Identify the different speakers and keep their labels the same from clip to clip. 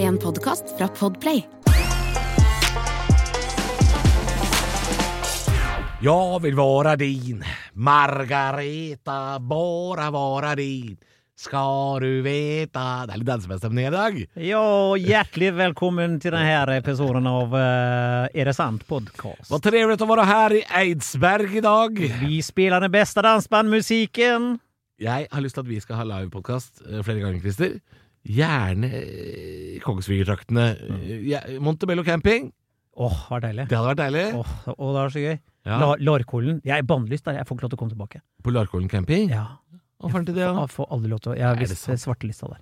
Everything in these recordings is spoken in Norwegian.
Speaker 1: en podkast fra Podplay.
Speaker 2: Jag vill vara din Margareta, bara vara din Ska du veta Det er litt dansebandstemning her i dag.
Speaker 3: Ja, og hjertelig velkommen til denne episoden av eh, Er det sant? podkast.
Speaker 2: Vad trevligt å være her i Eidsberg i dag.
Speaker 3: Vi spiller den beste dansebandmusikken.
Speaker 2: Jeg har lyst til at vi skal ha livepodkast flere ganger, Christer. Gjerne eh, i Kongsvinger-traktene.
Speaker 3: Mm.
Speaker 2: Eh, Ja, Montebello camping.
Speaker 3: Åh, var oh, deilig.
Speaker 2: Det hadde vært deilig.
Speaker 3: Åh, åh, det var så gøy.
Speaker 2: Ja.
Speaker 3: La- Larkollen. Jeg er bannlyst der. Jeg får ikke lov til å komme tilbake.
Speaker 2: På Larkollen camping.
Speaker 3: Ja.
Speaker 2: Mm. Hva fant du det, da?
Speaker 3: Jeg får aldri lov til å Jeg har
Speaker 2: Er det
Speaker 3: visst
Speaker 2: sant?
Speaker 3: svartelista der.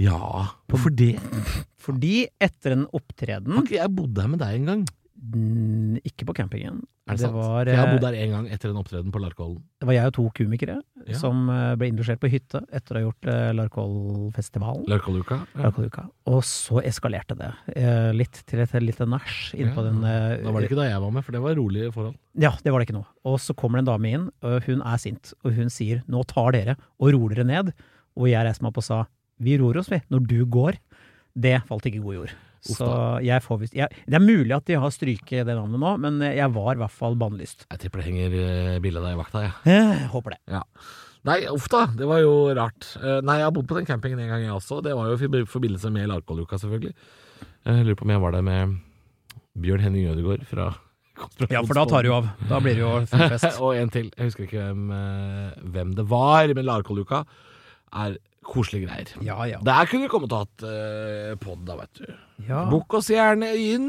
Speaker 2: Ja, hvorfor det?
Speaker 3: Mm. Fordi etter en opptreden
Speaker 2: Har ikke jeg bodd her med deg en gang?
Speaker 3: mm, Ikke på campingen.
Speaker 2: Er det, sant?
Speaker 3: var,
Speaker 2: For jeg har
Speaker 3: eh,
Speaker 2: bodd her en gang etter en opptreden på Larkollen.
Speaker 3: Det var jeg og to komikere
Speaker 2: Ja.
Speaker 3: som eh, ble indusjert på hytte etter å ha gjort eh, Larkollfestivalen.
Speaker 2: Larkolluka. Ja.
Speaker 3: Alkoholuka. Og så eskalerte det eh, litt til et lite nach innpå
Speaker 2: Ja,
Speaker 3: den eh,
Speaker 2: Da var det ikke da jeg var med, for det var rolige forhold.
Speaker 3: Ja, det var det ikke noe. Og så kommer det en dame inn, og hun er sint. Og hun sier 'nå tar dere og ror dere ned'. Og jeg reiste meg opp og sa 'vi ror oss, vi, når du går'. Det falt ikke i god jord.
Speaker 2: Uff
Speaker 3: Så jeg får visst jeg, Det er mulig at de har stryket det navnet nå, men jeg var i hvert fall bannlyst.
Speaker 2: Jeg tipper det henger eh, bilde av deg i vakta, jeg.
Speaker 3: Eh, håper det.
Speaker 2: Ja. Nei, uff da, det var jo rart. Eh, Nei, jeg har bodd på den campingen en gang jeg også. Det var jo i forbi- forbindelse med Larkolluka, selvfølgelig. Jeg lurer på om jeg var der med Bjørn Henning Ødegaard fra
Speaker 3: Ja, for da tar det jo av. Da blir det jo full fest.
Speaker 2: Og en til. Jeg husker ikke hvem, eh, hvem det var, men Larkolluka er koselige greier.
Speaker 3: Ja, ja.
Speaker 2: Der kunne vi kommet og hatt uh, pod, da, vet du.
Speaker 3: ja.
Speaker 2: Bukk oss gjerne inn.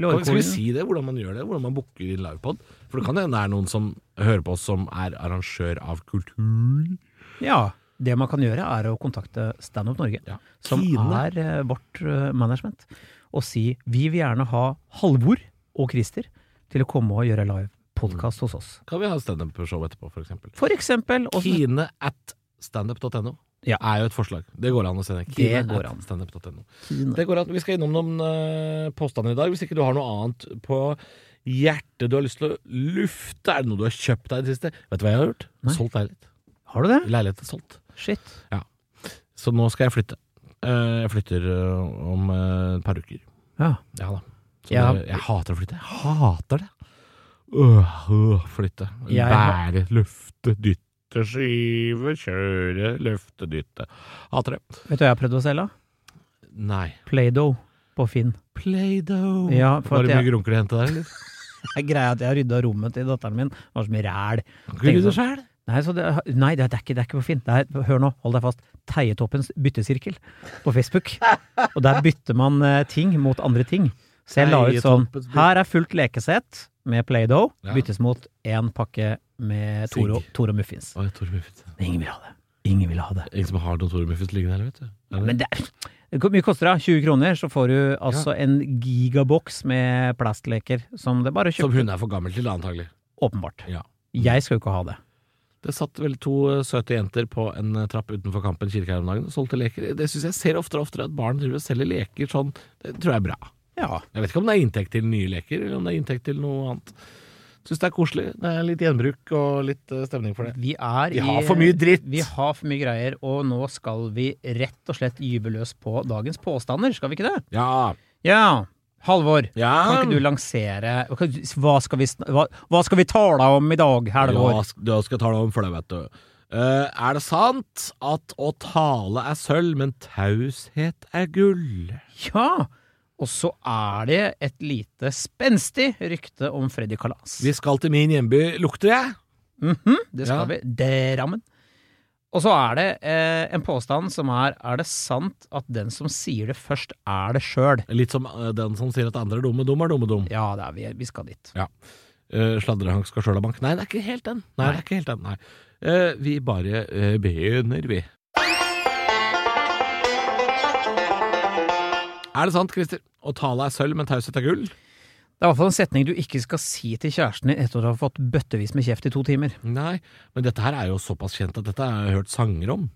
Speaker 2: Kan, skal vi
Speaker 3: Lårkolen.
Speaker 2: si det, hvordan man gjør det? Hvordan man booker i livepod? For det kan hende det er noen som hører på oss som er arrangør av kultur.
Speaker 3: Ja. Det man kan gjøre, er å kontakte Stand Up Norge,
Speaker 2: Ja.
Speaker 3: som
Speaker 2: Kine.
Speaker 3: er eh, vårt eh, management, og si vi vil gjerne ha Halvor og Christer til å komme og gjøre live podkast hos oss.
Speaker 2: Kan vi ha standup-show etterpå, for eksempel?
Speaker 3: For eksempel og så-
Speaker 2: Kine at standup.no
Speaker 3: Ja.
Speaker 2: er jo et forslag. Det går an å sende.
Speaker 3: Det
Speaker 2: Kine
Speaker 3: går
Speaker 2: at
Speaker 3: an.
Speaker 2: standup.no.
Speaker 3: Kine.
Speaker 2: Det går an. Vi skal innom noen eh, påstander i dag, hvis ikke du har noe annet på hjertet du har lyst til å lufte. Er det noe du har kjøpt deg i det siste? Vet du hva jeg har gjort?
Speaker 3: Nei.
Speaker 2: Solgt leilighet.
Speaker 3: Har du det?
Speaker 2: Leilighet er solgt.
Speaker 3: Shit.
Speaker 2: Så nå skal jeg flytte. Eh, jeg flytter eh, om eh, et par uker.
Speaker 3: Ja.
Speaker 2: Ja da. Så
Speaker 3: Ja.
Speaker 2: Det, jeg hater å flytte. Jeg hater det. Øh, øh, flytte.
Speaker 3: Jeg-
Speaker 2: Bære, løfte, dytte, skyve, kjøre, løfte, dytte. Hater det.
Speaker 3: Vet du hva jeg har prøvd å selge?
Speaker 2: Nei.
Speaker 3: Play-Doh på Finn.
Speaker 2: Play-Doh.
Speaker 3: Ja, for
Speaker 2: Oh, Var det
Speaker 3: at
Speaker 2: mye
Speaker 3: jeg,
Speaker 2: grunker å hente der, eller?
Speaker 3: jeg greier at jeg har rydda rommet til datteren min. Det var så mye ræl.
Speaker 2: Gud, det sjæl.
Speaker 3: Nei, så det, nei det, er ikke, det er ikke på Finn. Det er, hør nå, hold deg fast. Teietoppens byttesirkel på Facebook. Og der bytter man eh, ting mot andre ting. Så jeg la ut sånn
Speaker 2: Teietoppens bytte-
Speaker 3: Her er fullt lekesett med Play-Doh.
Speaker 2: Ja.
Speaker 3: Byttes mot én pakke med
Speaker 2: Sigg.
Speaker 3: Toro, Toro Muffins.
Speaker 2: Oi, Tore Muffins.
Speaker 3: Men ingen vil ha det. Ingen vil ha det.
Speaker 2: Ingen som har noen Tore Muffins liggende her, vet du. Er det?
Speaker 3: Men det er hvor mye koster det? 20 kroner, så får du altså en gigaboks med plastleker som det bare
Speaker 2: Som
Speaker 3: kjøper.
Speaker 2: hun er for gammel til, antagelig.
Speaker 3: Åpenbart.
Speaker 2: Ja.
Speaker 3: Jeg skal jo ikke ha det.
Speaker 2: Det satt vel to eh, søte jenter på en eh, trapp utenfor Kampen kirke her om dagen og solgte leker. Det syns jeg ser oftere og oftere at barn driver og selger leker sånn. Det tror jeg er bra.
Speaker 3: Ja.
Speaker 2: Jeg vet ikke om det er inntekt til nye leker, eller om det er inntekt til noe annet. Syns det er koselig. Det er litt gjenbruk og litt eh, stemning for det.
Speaker 3: Vi er
Speaker 2: Vi
Speaker 3: i-
Speaker 2: har for mye dritt!
Speaker 3: Vi har for mye greier, og nå skal vi rett og slett gyve løs på dagens påstander, skal vi ikke det?
Speaker 2: Ja.
Speaker 3: Ja. Halvor,
Speaker 2: ja.
Speaker 3: kan ikke du lansere Hva skal vi, sn- hva, hva skal vi tale om i dag,
Speaker 2: Ja,
Speaker 3: Halvor?
Speaker 2: sk- da skal jeg ta det om for deg, vet du. Eh, er det sant at å tale er sølv, men taushet er gull?
Speaker 3: Ja. Og så er det et lite spenstig rykte om Freddy Kalas.
Speaker 2: Vi skal til min hjemby. Lukter jeg?
Speaker 3: Mhm, det skal
Speaker 2: Ja.
Speaker 3: vi. Det rammen. Og så er det eh, en påstand som er Er det sant at den som sier det først, er det sjøl?
Speaker 2: Litt som eh, den som sier at andre er dumme, dum er dumme, dum.
Speaker 3: Ja, det er vi. Vi skal dit.
Speaker 2: Uh, Sladrehank skal sjøl ha bank. Nei, det er ikke helt den. Nei, det er ikke helt den. Nei. Eh, vi bare eh, begynner, vi. Er det sant, Christer? Å tale er sølv, men taushet er gull?
Speaker 3: Det er i hvert fall en setning du ikke skal si til kjæresten din etter at du har fått bøttevis med kjeft i to timer.
Speaker 2: Nei, men dette her er jo såpass kjent at dette har jeg hørt sanger om.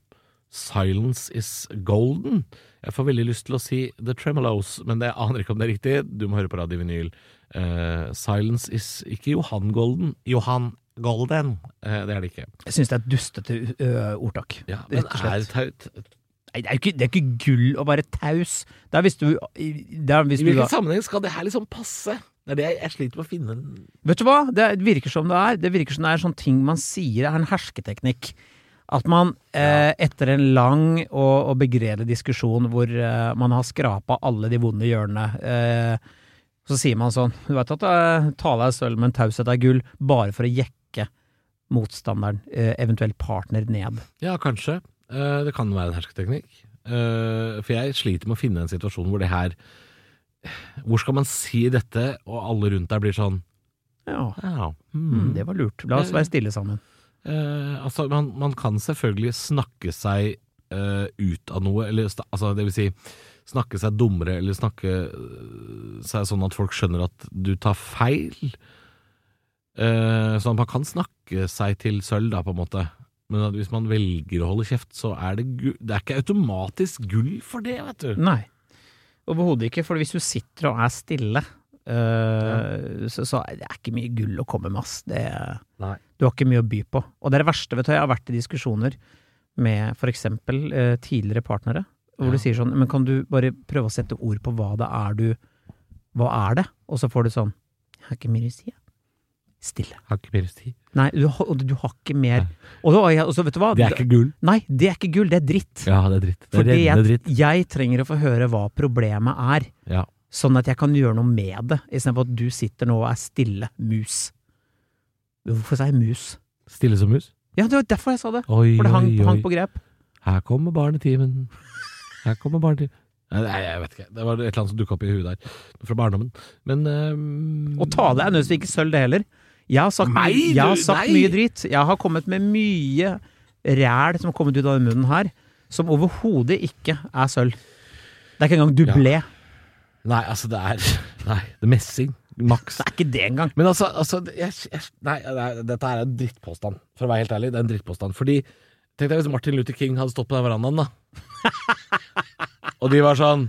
Speaker 2: Silence is golden. Jeg får veldig lyst til å si The Tremolos, men det aner ikke om det er riktig. Du må høre på Radio Vinyl. Eh, silence is ikke Johan Golden. Johan Golden. Eh, det er det ikke.
Speaker 3: Jeg syns det er et dustete ø, ordtak.
Speaker 2: Ja, men
Speaker 3: Rett og slett.
Speaker 2: er, tau-
Speaker 3: Nei, det er jo ikke, det er ikke gull å være taus. Det er hvis du, det er hvis
Speaker 2: I
Speaker 3: du da,
Speaker 2: hvilken sammenheng skal det her liksom passe? Det er det jeg, jeg sliter med å finne en-
Speaker 3: Vet du hva? Det virker som det er. Det virker som det er sånn ting man sier er en hersketeknikk. At man eh, etter en lang og, og begredelig diskusjon hvor eh, man har skrapa alle de vonde hjørnene, eh, så sier man sånn Du veit at eh, tale er sølv, men taushet er gull. Bare for å jekke motstanderen, eh, eventuelt partner, ned.
Speaker 2: Ja, kanskje. Eh, det kan være en hersketeknikk. Eh, for jeg sliter med å finne en situasjon hvor det her Hvor skal man si dette, og alle rundt deg blir sånn
Speaker 3: Ja,
Speaker 2: ja,
Speaker 3: mm,
Speaker 2: hmm.
Speaker 3: det var lurt. La oss være stille sammen.
Speaker 2: Eh, altså, man, man kan selvfølgelig snakke seg eh, ut av noe, eller sta- altså, det vil si snakke seg dummere, eller snakke eh, seg sånn at folk skjønner at du tar feil. Eh, sånn at man kan snakke seg til sølv, da, på en måte. Men at hvis man velger å holde kjeft, så er det gull. Det er ikke automatisk gull for det, vet du.
Speaker 3: Nei. Overhodet ikke, for hvis du sitter og er stille, øh, så, så er det ikke mye gull å komme med, ass. Det,
Speaker 2: Nei.
Speaker 3: du har ikke mye å by på. Og det er det verste, vet du. Jeg har vært i diskusjoner med for eksempel øh, tidligere partnere, hvor
Speaker 2: Ja.
Speaker 3: du sier sånn, men kan du bare prøve å sette ord på hva det er du Hva er det? Og så får du sånn, jeg har ikke mye å si, jeg. Stille.
Speaker 2: Har ikke mer tid.
Speaker 3: Nei, du, har- og du har ikke mer Og, da, har jeg- og så, vet du hva?
Speaker 2: Det er ikke gull.
Speaker 3: Nei, det er ikke gull, det er dritt.
Speaker 2: Ja, det er dritt. Det er
Speaker 3: Fordi
Speaker 2: rennende
Speaker 3: jeg,
Speaker 2: dritt.
Speaker 3: jeg trenger å få høre hva problemet er,
Speaker 2: Ja.
Speaker 3: sånn at jeg kan gjøre noe med det, istedenfor at du sitter nå og er stille mus. Hvorfor sa jeg mus?
Speaker 2: Stille som mus.
Speaker 3: Ja, det var derfor jeg sa det!
Speaker 2: Oi,
Speaker 3: For det hang,
Speaker 2: oi, oi.
Speaker 3: hang på grep.
Speaker 2: Her kommer barnetimen. Her kommer barnetimen. Nei, jeg vet ikke. Det var et eller annet som dukka opp i huet der. Fra barndommen. Men ehm,
Speaker 3: Og tale er nødvendigvis ikke sølv, det heller. Jeg har sagt,
Speaker 2: Nei,
Speaker 3: mye- jeg har
Speaker 2: du,
Speaker 3: sagt
Speaker 2: nei!
Speaker 3: mye dritt. Jeg har kommet med mye ræl som har kommet ut av den munnen her, som overhodet ikke er sølv. Det er ikke engang dublé.
Speaker 2: Nei, altså, det er Nei, det er messing. Maks.
Speaker 3: Det er ikke det engang.
Speaker 2: Men altså, altså jeg, jeg, nei, nei, dette her er en drittpåstand. For å være helt ærlig, det er en drittpåstand. Fordi Tenk deg hvis Martin Luther King hadde stått på den verandaen, da. Og de var sånn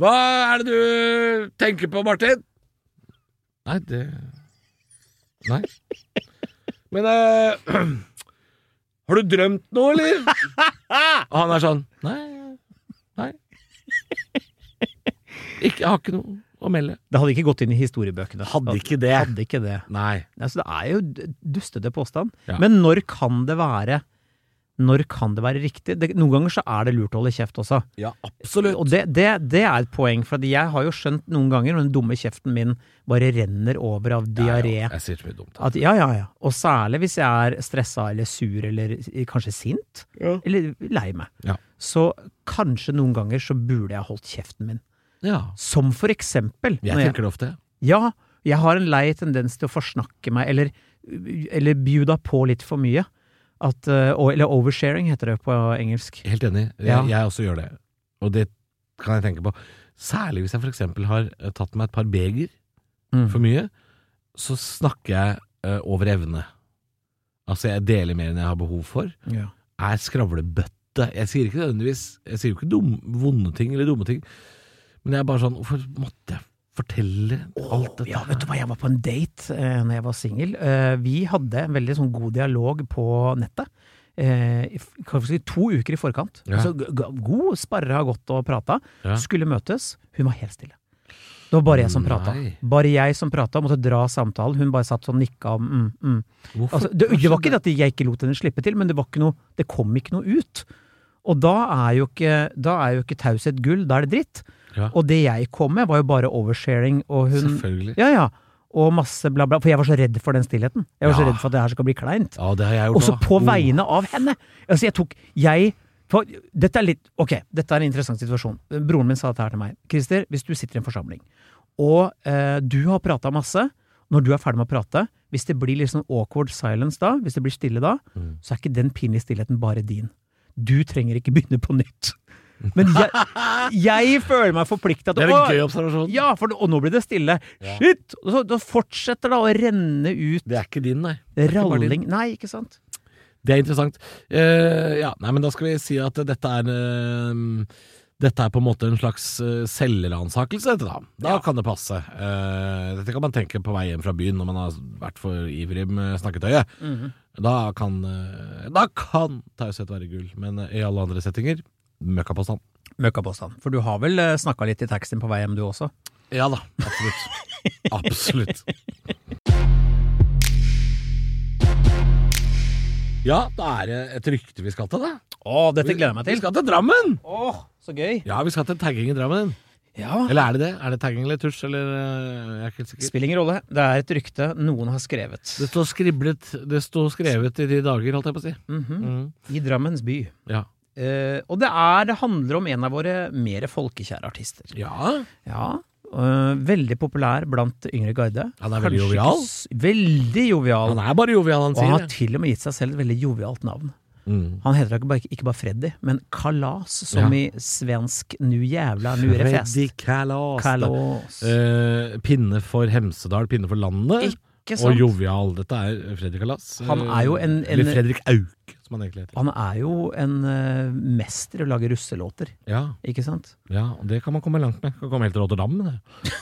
Speaker 2: Hva er det du tenker på, Martin? Nei, det Nei. Men eh, Har du drømt noe, eller? Og han er sånn Nei. Nei. Ikke, jeg har ikke noe å melde.
Speaker 3: Det hadde ikke gått inn i historiebøkene.
Speaker 2: ikke det.
Speaker 3: Hadde ikke det.
Speaker 2: Nei.
Speaker 3: Altså, det er jo d- dustete påstand.
Speaker 2: Ja.
Speaker 3: Men når kan det være Når kan det være riktig? Det, noen ganger så er det lurt å holde kjeft også.
Speaker 2: Ja, absolutt.
Speaker 3: Og det, det, det er et poeng, for at jeg har jo skjønt noen ganger når den dumme kjeften min bare renner over av diaré.
Speaker 2: Jeg sier så mye dumt.
Speaker 3: At ja, ja, ja. Og særlig hvis jeg er stressa eller sur eller s- kanskje sint.
Speaker 2: Ja.
Speaker 3: Eller lei meg.
Speaker 2: Ja.
Speaker 3: Så kanskje noen ganger så burde jeg holdt kjeften min.
Speaker 2: Ja.
Speaker 3: Som for eksempel
Speaker 2: Jeg
Speaker 3: når jeg-
Speaker 2: tenker det ofte.
Speaker 3: ja, jeg har en lei tendens til å forsnakke meg, eller, eller bjuda på litt for mye. At, eh, og- eller oversharing heter det på engelsk.
Speaker 2: Helt enig. Jeg,
Speaker 3: Ja.
Speaker 2: jeg også gjør det. Og det kan jeg tenke på. Særlig hvis jeg f.eks. har eh, tatt meg et par beger for mye, så snakker jeg eh, over evne. Altså, jeg deler mer enn jeg har behov for.
Speaker 3: Ja.
Speaker 2: er skravlebøtte. Jeg sier ikke nødvendigvis Jeg sier jo ikke dum, vonde ting eller dumme ting, men jeg er bare sånn Hvorfor måtte jeg fortelle alt dette?
Speaker 3: ja, vet du hva, jeg var på en date eh, når jeg var singel. Eh, vi hadde en veldig sånn god dialog på nettet. Eh, i f- hva skal vi si, to uker i forkant.
Speaker 2: Ja.
Speaker 3: Så g- g- god sparra godt og prata.
Speaker 2: Ja.
Speaker 3: Skulle møtes. Hun var helt stille. Det var bare jeg som prata.
Speaker 2: Nei.
Speaker 3: Bare jeg som prata, måtte dra samtalen. Hun bare satt sånn nikka og mm, mm.
Speaker 2: Hvorfor?
Speaker 3: Altså, det, det var ikke det at jeg ikke lot henne slippe til, men det, var ikke noe, det kom ikke noe ut. Og da er jo ikke, da er jo ikke taushet gull, da er det dritt.
Speaker 2: Ja.
Speaker 3: Og det jeg kom med, var jo bare oversharing og hun
Speaker 2: Selvfølgelig.
Speaker 3: Ja, ja. Og masse bla, bla. For jeg var så redd for den stillheten. Jeg var så
Speaker 2: Ja.
Speaker 3: redd for at det her skal bli kleint.
Speaker 2: Ja, det har jeg gjort
Speaker 3: Også
Speaker 2: også.
Speaker 3: på
Speaker 2: Oh.
Speaker 3: vegne av henne! Altså, jeg tok Jeg for, Dette er litt Ok, dette er en interessant situasjon. Broren min sa dette her til meg. Christer, hvis du sitter i en forsamling, og eh, du har prata masse Når du er ferdig med å prate, hvis det blir litt sånn awkward silence da, hvis det blir stille da,
Speaker 2: Mm.
Speaker 3: så er ikke den pinlige stillheten bare din. Du trenger ikke begynne på nytt. Men jeg, jeg føler meg forplikta
Speaker 2: Det
Speaker 3: til
Speaker 2: er
Speaker 3: å
Speaker 2: en gøy observasjon.
Speaker 3: Ja, for, og nå blir det stille.
Speaker 2: Ja.
Speaker 3: Shit! Og så, da fortsetter det å renne ut
Speaker 2: Det er ikke din, nei. Det er ikke bare din.
Speaker 3: ralling Nei, ikke sant?
Speaker 2: Det er interessant. Eh, ja, nei, men da skal vi si at dette er eh, Dette er på en måte en slags uh, selvransakelse, dette da. Da
Speaker 3: Ja.
Speaker 2: kan det passe. Eh, dette kan man tenke på vei hjem fra byen når man har vært for ivrig med snakketøyet.
Speaker 3: Mhm.
Speaker 2: Da kan, eh, da kan taushet være gull, men eh, i alle andre settinger Møkkapåstand.
Speaker 3: Møkkapåstand. For du har vel snakka litt i taxien på vei hjem, du også?
Speaker 2: Ja da, absolutt. absolutt. Ja, da er det et rykte vi skal til, da.
Speaker 3: Å, dette gleder jeg meg
Speaker 2: Vi
Speaker 3: til!
Speaker 2: skal til Drammen!
Speaker 3: Åh, så gøy!
Speaker 2: Ja, vi skal til tagging i Drammen.
Speaker 3: Ja.
Speaker 2: Eller er det det? Er det tagging eller tusj, eller eh, Jeg er ikke helt sikker.
Speaker 3: Spiller ingen rolle. Det er et rykte noen har skrevet.
Speaker 2: Det står skriblet Det står skrevet i de dager, holdt jeg på å si.
Speaker 3: Mhm.
Speaker 2: Mm.
Speaker 3: I Drammens by.
Speaker 2: Ja.
Speaker 3: Eh, og det, er, det handler om en av våre mer folkekjære artister.
Speaker 2: ja.
Speaker 3: Ja, øh, veldig populær blant yngre garde.
Speaker 2: Han er veldig
Speaker 3: Kanskje
Speaker 2: jovial.
Speaker 3: ikke s- Veldig jovial.
Speaker 2: Han er bare jovial, han
Speaker 3: og han
Speaker 2: sier
Speaker 3: har
Speaker 2: det.
Speaker 3: til og med gitt seg selv et veldig jovialt navn.
Speaker 2: Mm.
Speaker 3: Han heter ikke bare, ikke bare Freddy, men Kalas, som i svensk nu jævla nu är det fest.
Speaker 2: Freddy Kalas.
Speaker 3: Kalas.
Speaker 2: Eh, pinne for Hemsedal, pinne for landet.
Speaker 3: ikke
Speaker 2: Og
Speaker 3: sant?
Speaker 2: jovial. Dette er Fredrik Kalas.
Speaker 3: Han er jo en- en-
Speaker 2: Eller Fredrik Auk, som han egentlig heter.
Speaker 3: Han er jo en øh, mester i å lage russelåter,
Speaker 2: Ja,
Speaker 3: ikke sant?
Speaker 2: ja, og det kan man komme langt med. Kan komme helt til Rotterdam med det.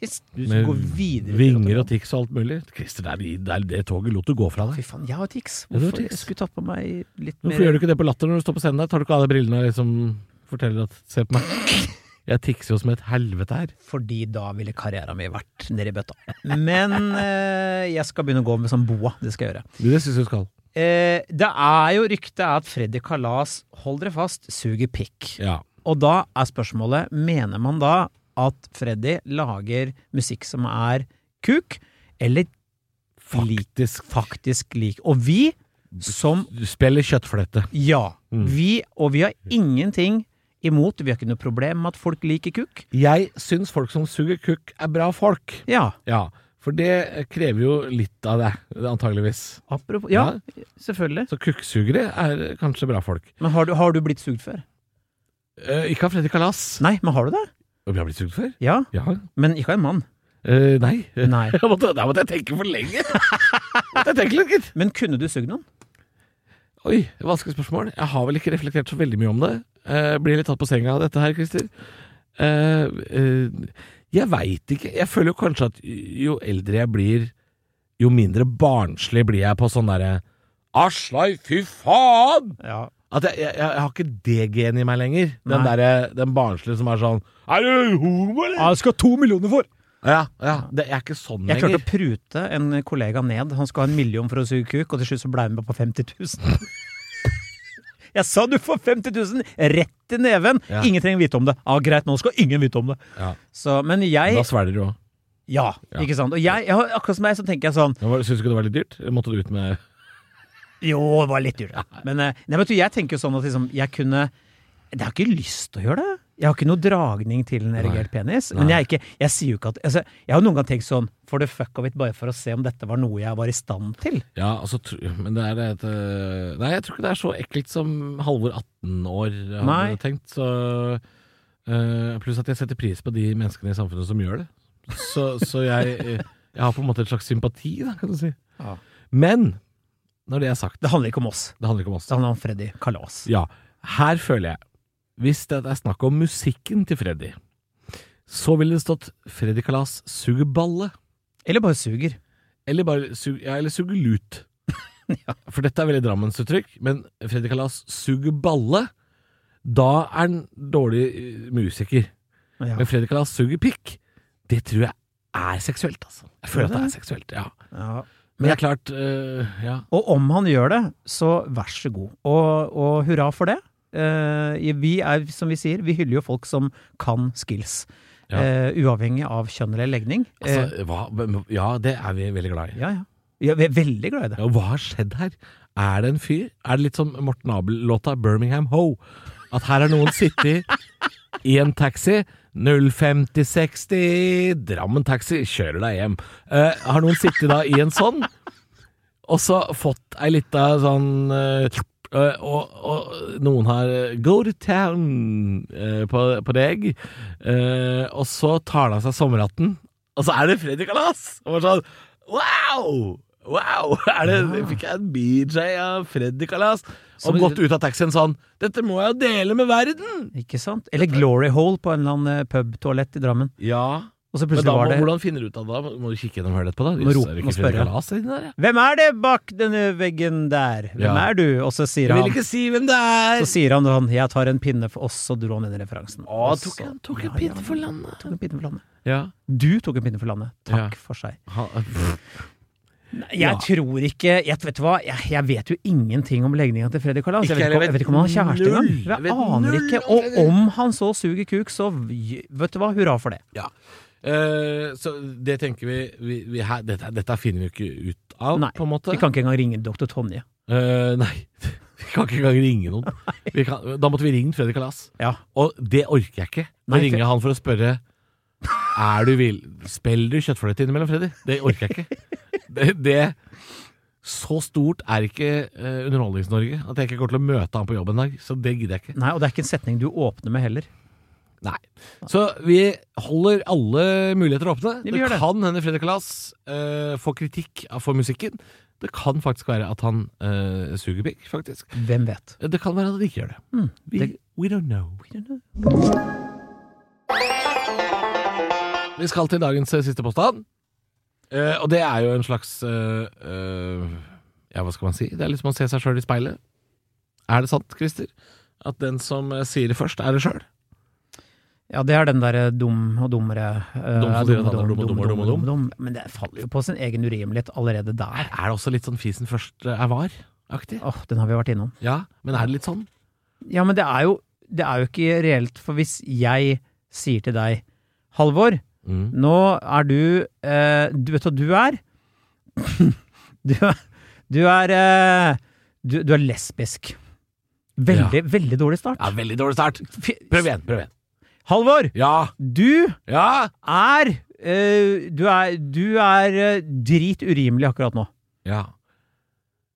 Speaker 3: Hvis du
Speaker 2: Med
Speaker 3: går videre
Speaker 2: Vinger og tics og alt mulig. Christer, det, er, det, er det toget lot du gå fra
Speaker 3: Fy
Speaker 2: deg.
Speaker 3: faen, jeg har tics.
Speaker 2: Ja, du har
Speaker 3: Hvorfor jeg
Speaker 2: tics.
Speaker 3: skulle tatt på meg litt
Speaker 2: Hvorfor gjør
Speaker 3: mer
Speaker 2: du ikke det på latter når du står på scenen der? Tar du ikke av deg brillene og liksom forteller at Se på meg. Jeg tikser jo som et helvete her.
Speaker 3: Fordi da ville karrieren min vært nedi bøtta. Men øh, jeg skal begynne å gå med sånn boa. Det skal jeg gjøre.
Speaker 2: Du, Det syns jeg du skal.
Speaker 3: Eh, det er jo ryktet at Freddy Kalas, hold dere fast, suger pikk.
Speaker 2: Ja.
Speaker 3: Og da er spørsmålet, mener man da at Freddy lager musikk som er kuk, eller
Speaker 2: Faktisk.
Speaker 3: faktisk lik? Og vi som
Speaker 2: Du spiller kjøttflette.
Speaker 3: Ja.
Speaker 2: Mm.
Speaker 3: Vi, og vi har ingenting imot, vi har ikke noe problem med at folk liker kuk.
Speaker 2: Jeg syns folk som suger kukk, er bra folk.
Speaker 3: Ja.
Speaker 2: Ja, for det krever jo litt av deg, antageligvis.
Speaker 3: Apropos Ja, selvfølgelig.
Speaker 2: Så kukksugere er kanskje bra folk.
Speaker 3: Men har du, har du blitt sugd før?
Speaker 2: Eh, ikke av Fredrik Kalas.
Speaker 3: Nei, men har du det?
Speaker 2: Vi har blitt sugd før?
Speaker 3: Ja.
Speaker 2: Ja.
Speaker 3: Men ikke av en mann.
Speaker 2: Eh, nei.
Speaker 3: Nei.
Speaker 2: Jeg måtte, der måtte jeg tenke for lenge! måtte jeg tenke litt, gitt.
Speaker 3: Men kunne du sugd noen?
Speaker 2: Oi, vanskelig spørsmål. Jeg har vel ikke reflektert så veldig mye om det. Eh, blir litt tatt på senga av dette her, Christer. Eh, eh, jeg veit ikke. Jeg føler jo kanskje at jo eldre jeg blir, jo mindre barnslig blir jeg på sånn derre Aslai, fy faen!
Speaker 3: Ja.
Speaker 2: At jeg, jeg, jeg har ikke det genet i meg lenger. Den,
Speaker 3: Nei.
Speaker 2: derre- den barnslige som er sånn Er du homo, eller?
Speaker 3: Jeg skal ha to millioner for!
Speaker 2: Ja, ja. Det, jeg er ikke sånn
Speaker 3: Jeg klarte
Speaker 2: lenger.
Speaker 3: å prute en kollega ned. Han skulle ha en million for å suge kuk, og til slutt så ble han med på 50 000. Jeg sa du får 50 000 rett i neven!
Speaker 2: Ja.
Speaker 3: Ingen trenger vite om det. Ja, Greit, nå skal ingen vite om det.
Speaker 2: Ja.
Speaker 3: Så, men
Speaker 2: Da
Speaker 3: jeg
Speaker 2: svelger du òg.
Speaker 3: Ja,
Speaker 2: Ja.
Speaker 3: ikke sant. Og jeg, jeg, har- akkurat som meg, så tenker jeg sånn
Speaker 2: Syns du ikke det var litt dyrt? Eller Måtte du ut med
Speaker 3: Jo, det var litt dyrt. Men eh, nei, vet du, jeg tenker jo sånn at liksom, jeg kunne Jeg har ikke lyst til å gjøre det. Jeg har ikke noe dragning til en erigert penis. Men jeg, er ikke, jeg sier jo ikke at altså, Jeg har noen gang tenkt sånn for the fuck of it, bare for å se om dette var noe jeg var i stand til.
Speaker 2: Ja, altså, tr- men det er et eh, Nei, jeg tror ikke det er så ekkelt som Halvor 18 år hadde
Speaker 3: Nei.
Speaker 2: tenkt. Så, eh, pluss at jeg setter pris på de menneskene i samfunnet som gjør det. Så, så jeg, eh, jeg har på en måte et slags sympati, da, kan du si.
Speaker 3: Ja.
Speaker 2: Men når det er sagt,
Speaker 3: Det handler ikke om oss.
Speaker 2: det handler ikke om oss.
Speaker 3: Det handler om Freddy Kalas.
Speaker 2: Ja, her føler jeg Hvis det er snakk om musikken til Freddy, så ville det stått 'Freddy Kalas suger balle'.
Speaker 3: Eller bare suger.
Speaker 2: Eller bare sug, ja, eller suge lut. For dette er veldig Drammensuttrykk, men Fredrik Kalas suger balle. Da er han dårlig eh, musiker.
Speaker 3: Ja.
Speaker 2: Men Fredrik Kalas suger pikk. Det tror jeg er seksuelt, altså. Jeg føler at det er seksuelt, ja.
Speaker 3: Ja.
Speaker 2: Men det er klart eh, Ja.
Speaker 3: Og om han gjør det, så vær så god. Og, og hurra for det. Eh, vi er, som vi sier, vi hyller jo folk som kan skills.
Speaker 2: Ja.
Speaker 3: Eh, uavhengig av kjønn eller legning. Eh,
Speaker 2: Altså, hva, men- ja, det er vi veldig glad i.
Speaker 3: ja, ja. ja, vi er veldig glad i det.
Speaker 2: Ja, hva har skjedd her? Er det en fyr? Er det litt som Morten Abel-låta 'Birmingham Ho'? At her har noen sittet i en taxi 05060 Drammen taxi, kjører deg hjem. Eh, har noen sittet da i en sånn, og så fått ei lita sånn eh, eh, og, og noen har eh, 'go to town' eh, på, på deg, eh, og så tar det av seg sommerhatten, og så er det Freddy Kalas! Og bare sånn wow! Wow! Er det, Fikk jeg en BJ av Freddy Kalas?
Speaker 3: Som-
Speaker 2: Og gått ut av taxien sånn 'Dette må jeg jo dele med verden!'
Speaker 3: Ikke sant? Eller Glory Hole på en eller annen eh, pubtoalett i Drammen.
Speaker 2: Ja,
Speaker 3: Og så
Speaker 2: Men
Speaker 3: plutselig
Speaker 2: da må,
Speaker 3: var det
Speaker 2: hvordan finner du ut av det? da? Må du kikke gjennom hullet etterpå, da?
Speaker 3: Må rope,
Speaker 2: Er det
Speaker 3: må
Speaker 2: ikke Fredrik
Speaker 3: spørre.
Speaker 2: Kalas inni der, ja?
Speaker 3: Hvem er det bak denne veggen der? Hvem
Speaker 2: Ja.
Speaker 3: er du? Og så sier
Speaker 2: Jeg
Speaker 3: han
Speaker 2: vil ikke si hvem det er!
Speaker 3: Så sier han sånn Jeg tar en pinne for oss, og dro han inn i referansen.
Speaker 2: Å,
Speaker 3: Og
Speaker 2: tok
Speaker 3: så-
Speaker 2: en- tok en
Speaker 3: Ja,
Speaker 2: pinne
Speaker 3: ja,
Speaker 2: for
Speaker 3: ja,
Speaker 2: landet.
Speaker 3: Tok en pinne for landet.
Speaker 2: Ja.
Speaker 3: Du tok en pinne for landet. Takk
Speaker 2: Ja.
Speaker 3: for seg.
Speaker 2: Han,
Speaker 3: Jeg
Speaker 2: Ja.
Speaker 3: tror ikke jeg, Vet du hva, jeg, jeg vet jo ingenting om legninga til Freddy Kalas.
Speaker 2: Ikke
Speaker 3: Jeg, vet ikke-
Speaker 2: heller,
Speaker 3: jeg vet ikke om han har kjæreste
Speaker 2: null.
Speaker 3: engang.
Speaker 2: Jeg
Speaker 3: Jeg
Speaker 2: vet
Speaker 3: aner
Speaker 2: null
Speaker 3: ikke.
Speaker 2: om
Speaker 3: Og
Speaker 2: Freddy.
Speaker 3: om han så suger kuk, så v- Vet du hva, hurra for det.
Speaker 2: ja. Eh, så det tenker vi, vi, vi her, dette, dette finner vi jo ikke ut av,
Speaker 3: Nei,
Speaker 2: på en måte.
Speaker 3: Vi kan ikke engang ringe doktor Tonje.
Speaker 2: Eh, nei. Vi kan ikke engang ringe noen. Vi kan, da måtte vi ringe Fredrik Kalas.
Speaker 3: Ja.
Speaker 2: Og det orker jeg ikke. Da
Speaker 3: Nei,
Speaker 2: ringer jeg han for å spørre Er du vil Spiller du kjøttfløyte innimellom, Freddy? Det orker jeg ikke. Det, det Så stort er ikke eh, Underholdnings-Norge at jeg ikke kommer til å møte han på jobb en dag. Så det gidder jeg ikke.
Speaker 3: Nei, og det er ikke en setning du åpner med heller.
Speaker 2: Nei. Så vi holder alle muligheter åpne.
Speaker 3: Vi
Speaker 2: det
Speaker 3: gjør det.
Speaker 2: kan hende Fredrik Kalas eh, får kritikk av- for musikken. Det kan faktisk være at han eh, suger pikk, faktisk.
Speaker 3: Hvem vet?
Speaker 2: Det kan være at han ikke gjør det. Vi,
Speaker 3: Mm. det-
Speaker 2: we don't know. Vi skal til dagens eh, siste påstand. Eh, og det er jo en slags eh, eh, Ja, hva skal man si? Det er litt som å se seg sjøl i speilet. Er det sant, Christer? At den som eh, sier det først, er det sjøl?
Speaker 3: Ja, det er den derre dum og dummere eh,
Speaker 2: Dum som sier at han er dum og
Speaker 3: dum,
Speaker 2: dummere, dum og dum.
Speaker 3: dum. Men det faller jo på sin egen urimelighet allerede der.
Speaker 2: Er det også litt sånn fisen først eh, er var-aktig?
Speaker 3: Åh, den har vi vært innom.
Speaker 2: Ja, men er det litt sånn?
Speaker 3: Ja, men det er jo, det er jo ikke reelt, for hvis jeg sier til deg Halvor,
Speaker 2: Mm.
Speaker 3: nå er du eh, Du vet hva du er? du, er- du er eh, du, du er lesbisk. Veldig, veldig dårlig start.
Speaker 2: Ja, veldig dårlig start.
Speaker 3: Fy-
Speaker 2: Prøv igjen, prøv igjen.
Speaker 3: Halvor,
Speaker 2: Ja!
Speaker 3: du
Speaker 2: Ja!
Speaker 3: er eh, Du er, du er eh, drit urimelig akkurat nå.
Speaker 2: Ja,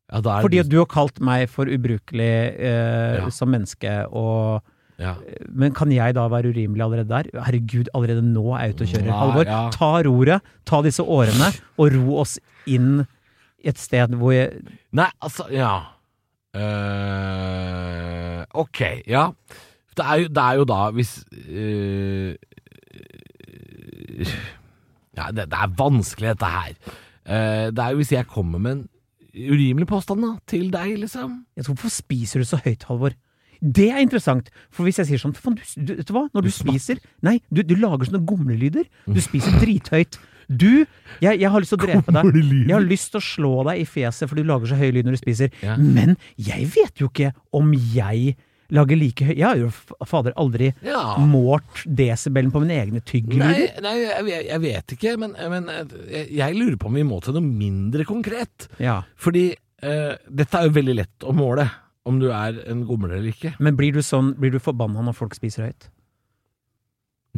Speaker 2: ja da er
Speaker 3: Fordi at
Speaker 2: det
Speaker 3: du har kalt meg for ubrukelig eh,
Speaker 2: Ja.
Speaker 3: som menneske, og
Speaker 2: ja.
Speaker 3: Men kan jeg da være urimelig allerede der? Herregud, allerede nå er jeg ute og kjører.
Speaker 2: Nei,
Speaker 3: Halvor,
Speaker 2: ja.
Speaker 3: ta roret, ta disse årene, og ro oss inn et sted hvor jeg
Speaker 2: Nei, altså, ja Eh, Ok, ja det er, jo, det er jo da hvis eh, Ja, det, det er vanskelig dette her Eh, Det er jo hvis jeg kommer med en urimelig påstand da Til deg liksom
Speaker 3: jeg tror, Hvorfor spiser du så høyt, Halvor? Det er interessant, for hvis jeg sier sånn faen, du, du, Vet du hva, når du, spiser Nei, du, du lager sånne gomlelyder. Du spiser drithøyt. Du Jeg, jeg har lyst til å drepe deg.
Speaker 2: Gomlelyder?
Speaker 3: Jeg har lyst til å slå deg i fjeset, for du lager så høy lyd når du spiser.
Speaker 2: Ja.
Speaker 3: Men jeg vet jo ikke om jeg lager like høy Jeg har jo f- fader aldri
Speaker 2: Ja
Speaker 3: målt desibelen på mine egne
Speaker 2: Nei,
Speaker 3: tyggelyder?
Speaker 2: nei jeg, jeg- jeg vet ikke, men, men jeg, jeg lurer på om vi må til noe mindre konkret
Speaker 3: Ja.
Speaker 2: Fordi eh, dette er jo veldig lett å måle Om du er en gomler eller ikke
Speaker 3: Men blir du sånn, blir du forbanna når folk spiser høyt?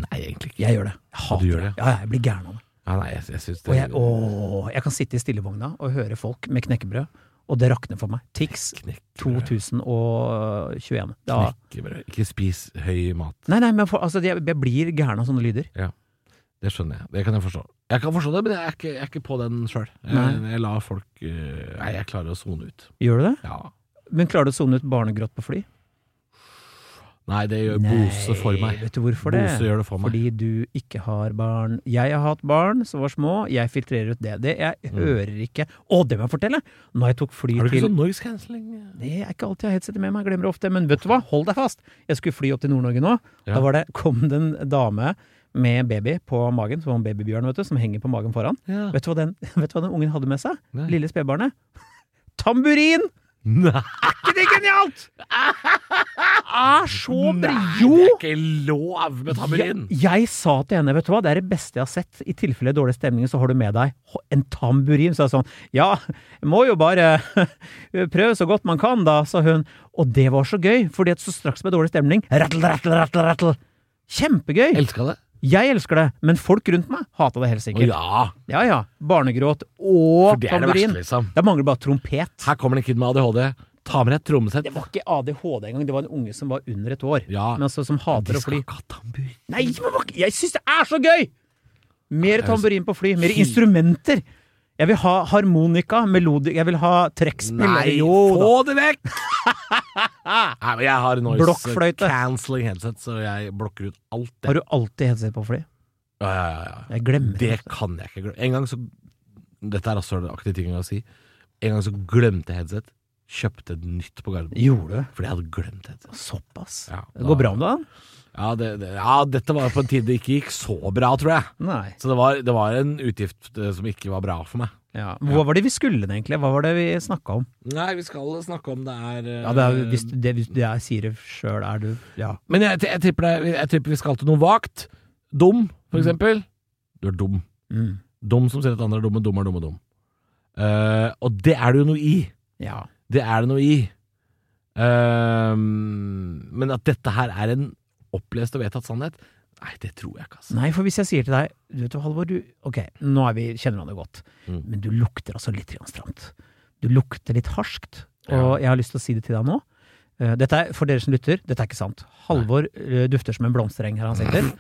Speaker 2: Nei, egentlig ikke
Speaker 3: Jeg gjør det.
Speaker 2: Ja,
Speaker 3: Jeg
Speaker 2: du
Speaker 3: hater
Speaker 2: gjør det.
Speaker 3: Ja, ja, jeg blir gæren av det.
Speaker 2: Ja, nei, jeg, jeg synes det
Speaker 3: Og jeg, åh, jeg kan sitte i stillevogna og høre folk med knekkebrød, og det rakner for meg. Tix
Speaker 2: Knekkebrød.
Speaker 3: 2021. Da.
Speaker 2: Knekkebrød. Ikke spis høy mat.
Speaker 3: Nei, nei, men for, altså, jeg, jeg blir gæren av sånne lyder.
Speaker 2: Det skjønner jeg. Det kan jeg forstå. Jeg kan forstå det, men jeg er ikke, jeg er ikke på den sjøl. Jeg,
Speaker 3: Nei.
Speaker 2: jeg lar folk øh, Nei, jeg klarer å sone ut.
Speaker 3: Gjør du det?
Speaker 2: Ja.
Speaker 3: Men klarer du å sone ut barnegråt på fly?
Speaker 2: Nei, det gjør Bose for meg.
Speaker 3: Vet du hvorfor det?
Speaker 2: Bose gjør det for meg.
Speaker 3: Fordi du ikke har barn. Jeg har hatt barn som var små, jeg filtrerer ut det. det jeg hører ikke Å, det må jeg fortelle! Når jeg tok fly
Speaker 2: Har Mm. du ikke
Speaker 3: til
Speaker 2: sånn noise cancelling?
Speaker 3: Det er ikke alltid jeg har headsetet med meg, jeg glemmer det ofte. Men vet du hva, hold deg fast! Jeg skulle fly opp til Nord-Norge nå.
Speaker 2: Ja.
Speaker 3: Da var det, kom det en dame med baby på magen, som var en babybjørn, vet du, som henger på magen foran.
Speaker 2: Ja.
Speaker 3: Vet du hva den, vet du hva den ungen hadde med seg?
Speaker 2: Nei.
Speaker 3: Lille spedbarnet. Tamburin!
Speaker 2: Nei,
Speaker 3: Er ikke det genialt?! Det er så
Speaker 2: Nei,
Speaker 3: bra!
Speaker 2: det
Speaker 3: Jo!
Speaker 2: er ikke lov med tamburin!
Speaker 3: Jeg, jeg sa til henne, vet du hva, det er det beste jeg har sett. I tilfelle dårlig stemning, så har du med deg ho- en tamburin. Så jeg sånn, ja, jeg må jo bare prøve så godt man kan, da, sa hun. Og det var så gøy, fordi at så straks med dårlig stemning, rattle, rattle, rattle, rattle. Kjempegøy!
Speaker 2: Elska det.
Speaker 3: Jeg elsker det, men folk rundt meg hata det helt
Speaker 2: Å
Speaker 3: sikkert.
Speaker 2: ja!
Speaker 3: Ja ja, barnegråt og
Speaker 2: For det er det
Speaker 3: tamburin.
Speaker 2: verste, liksom.
Speaker 3: Da mangler bare trompet.
Speaker 2: Her kommer det en kid med ADHD. Ta med deg et trommesett.
Speaker 3: Det var ikke ADHD engang, det var en unge som var under et år.
Speaker 2: Ja.
Speaker 3: Men altså, som
Speaker 2: De
Speaker 3: hater å fly.
Speaker 2: skal ikke ha tamburin.
Speaker 3: Nei, men hva- jeg syns det er så gøy! Mer tamburin på fly, mer
Speaker 2: Fy.
Speaker 3: instrumenter. Jeg vil ha harmonika, melodi Jeg vil ha trekkspill.
Speaker 2: Nei,
Speaker 3: jo da.
Speaker 2: få det vekk! Nei, men jeg har noise
Speaker 3: Blokkfløyte.
Speaker 2: cancelling headset, så jeg blokker ut alt det.
Speaker 3: Har du alltid headset på fly?
Speaker 2: Ja, ja, ja, ja.
Speaker 3: Jeg glemmer
Speaker 2: Det kan jeg ikke glemme. En gang så Dette er rasshølaktige ting å si. En gang så glemte jeg headset. Kjøpte et nytt på Gardermoen.
Speaker 3: Gjorde du?
Speaker 2: Fordi jeg hadde glemt headset.
Speaker 3: Såpass.
Speaker 2: Ja,
Speaker 3: det
Speaker 2: da-
Speaker 3: går bra om dagen?
Speaker 2: Ja, det, det, ja, dette var på en tid det ikke gikk så bra, tror jeg.
Speaker 3: Nei.
Speaker 2: Så det var, det var en utgift eh, som ikke var bra for meg.
Speaker 3: Ja. Hva var det vi skulle den egentlig? Hva var det vi snakka om?
Speaker 2: Nei, vi skal snakke om det er eh,
Speaker 3: Ja, det er, hvis du, det, hvis du jeg sier det sjøl, er du Ja.
Speaker 2: Men jeg, jeg, tipper det, jeg tipper vi skal til noe vagt. Dum, for
Speaker 3: Mm.
Speaker 2: eksempel. Du er dum.
Speaker 3: Mm.
Speaker 2: Dum som sier at andre er dumme, dum er dumme, dum. Eh, og det er det jo noe i.
Speaker 3: Ja.
Speaker 2: Det er det noe i. Ehm, men at dette her er en opplest og vedtatt sannhet, nei, det tror jeg ikke, altså.
Speaker 3: Nei, for hvis jeg sier til deg Du vet du, Halvor, du Ok, nå er vi, kjenner hverandre godt,
Speaker 2: Mm.
Speaker 3: men du lukter altså litt grann stramt. Du lukter litt harskt,
Speaker 2: Ja.
Speaker 3: og jeg har lyst til å si det til deg nå. Eh, Dette er, for dere som lytter, dette er ikke sant. Halvor eh, dufter som en blomstereng her han sitter.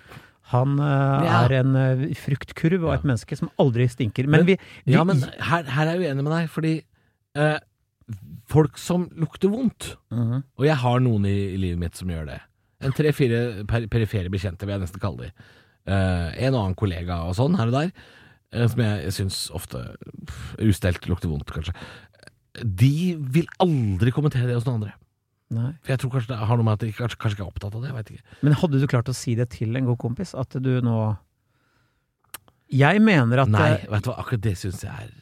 Speaker 3: Han eh,
Speaker 2: Ja.
Speaker 3: er en eh, fruktkurv
Speaker 2: Ja.
Speaker 3: og et menneske som aldri stinker. Men,
Speaker 2: Men-
Speaker 3: vi, vi
Speaker 2: Ja, men her, her er jeg uenig med deg, fordi eh, folk som lukter vondt
Speaker 3: Mhm.
Speaker 2: Og jeg har noen i, i livet mitt som gjør det. En tre-fire per, perifere bekjente, vil jeg nesten kalle de. Eh, en og annen kollega og sånn her og der, eh, som jeg, jeg syns ofte pff, ustelt lukter vondt, kanskje. De vil aldri kommentere det hos noen andre.
Speaker 3: Nei.
Speaker 2: For jeg tror kanskje det har noe med at de ikke- kanskje, kanskje ikke er opptatt av det. Jeg vet ikke.
Speaker 3: Men hadde du klart å si det til en god kompis, at du nå Jeg mener at
Speaker 2: Nei,
Speaker 3: eh,
Speaker 2: vet du hva, akkurat det syns jeg er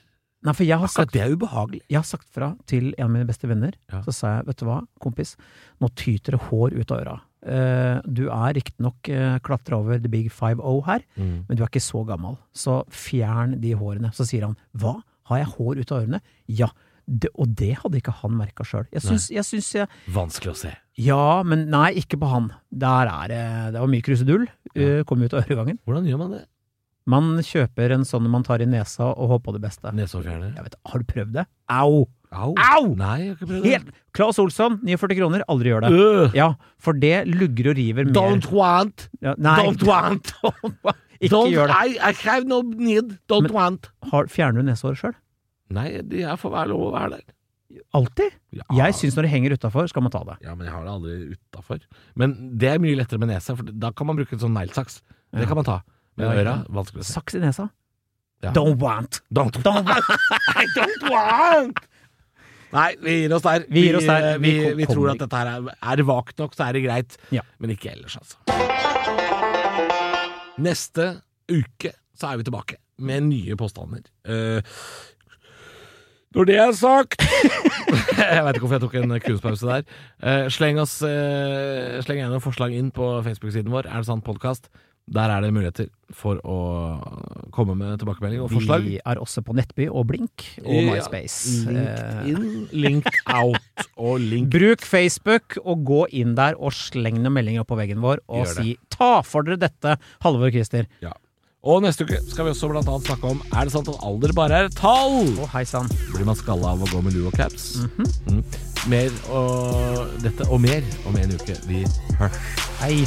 Speaker 3: Nei, for jeg har sagt
Speaker 2: Akkurat det er ubehagelig.
Speaker 3: Jeg har sagt fra til en av mine beste venner.
Speaker 2: Ja.
Speaker 3: Så sa jeg, vet du hva, kompis, nå tyter det hår ut av øra. Eh, du er riktignok uh, klatra over the big 5-0 her,
Speaker 2: Mm.
Speaker 3: men du er ikke så gammel. Så fjern de hårene. Så sier han, hva, har jeg hår ut av ørene? Ja. Det, og det hadde ikke han merka sjøl. Jeg syns jeg, syns jeg
Speaker 2: Vanskelig å se.
Speaker 3: Ja, men nei, ikke på han. Der er det Det var mye krusedull. eh, kom ut av øregangen.
Speaker 2: Hvordan gjør man det?
Speaker 3: Man kjøper en sånn man tar i nesa og håper på det beste.
Speaker 2: Nesehårfjerner?
Speaker 3: Jeg vet, har du prøvd det? Au!
Speaker 2: Au!
Speaker 3: Au!
Speaker 2: Nei, jeg har ikke prøvd det.
Speaker 3: Helt! Claes Olsson, 49 kroner, aldri gjør det.
Speaker 2: Øh,
Speaker 3: Ja, for det lugger og river mer.
Speaker 2: don't want!
Speaker 3: ja, nei,
Speaker 2: Don't want!
Speaker 3: ikke
Speaker 2: don't,
Speaker 3: gjør det.
Speaker 2: I, I have no need. Don't
Speaker 3: Men-
Speaker 2: want.
Speaker 3: Har, fjerner du nesehåret sjøl?
Speaker 2: Nei, det er for hver lov å være der.
Speaker 3: Alltid?
Speaker 2: Ja,
Speaker 3: Jeg syns når det henger utafor, skal man ta det.
Speaker 2: ja, men jeg har det aldri utafor. Men det er mye lettere med nesa, for da kan man bruke en sånn neglesaks. Det
Speaker 3: Ja.
Speaker 2: kan man ta. Men
Speaker 3: Ja,
Speaker 2: øra
Speaker 3: ja.
Speaker 2: vanskelig å se.
Speaker 3: Saks i nesa.
Speaker 2: Ja.
Speaker 3: Don't want!
Speaker 2: Don't,
Speaker 3: Don't want.
Speaker 2: I don't want! Nei, vi gir oss der.
Speaker 3: Vi gir oss der.
Speaker 2: Vi,
Speaker 3: Vi
Speaker 2: vi,
Speaker 3: kom-
Speaker 2: tror
Speaker 3: kommer
Speaker 2: at dette her er, er det vagt nok, så er det greit.
Speaker 3: Ja.
Speaker 2: Men ikke ellers, altså. Neste uke så er vi tilbake med nye påstander. Eh, når det er sagt Jeg veit ikke hvorfor jeg tok en kunstpause der. Eh, sleng oss eh, Sleng gjerne forslag inn på Facebook-siden vår, Er det sant podkast? Der er det muligheter for å komme med tilbakemelding og forslag.
Speaker 3: Vi er også på Nettby og Blink og
Speaker 2: Ja, Mm.
Speaker 3: MySpace. Eh,
Speaker 2: Linked in, linked out og linked
Speaker 3: Bruk Facebook, og gå inn der og sleng noen meldinger opp på veggen vår og
Speaker 2: Gjør det.
Speaker 3: si 'ta for dere dette', Halvor Christer.
Speaker 2: ja. Og neste uke skal vi også blant annet snakke om Er det sant at alder bare er et tall?
Speaker 3: Å, hei sann.
Speaker 2: Blir man skalla av å gå med lue og caps?
Speaker 3: Mhm.
Speaker 2: Mm. Mer og dette og mer om en uke. Vi hørs.
Speaker 3: Hei.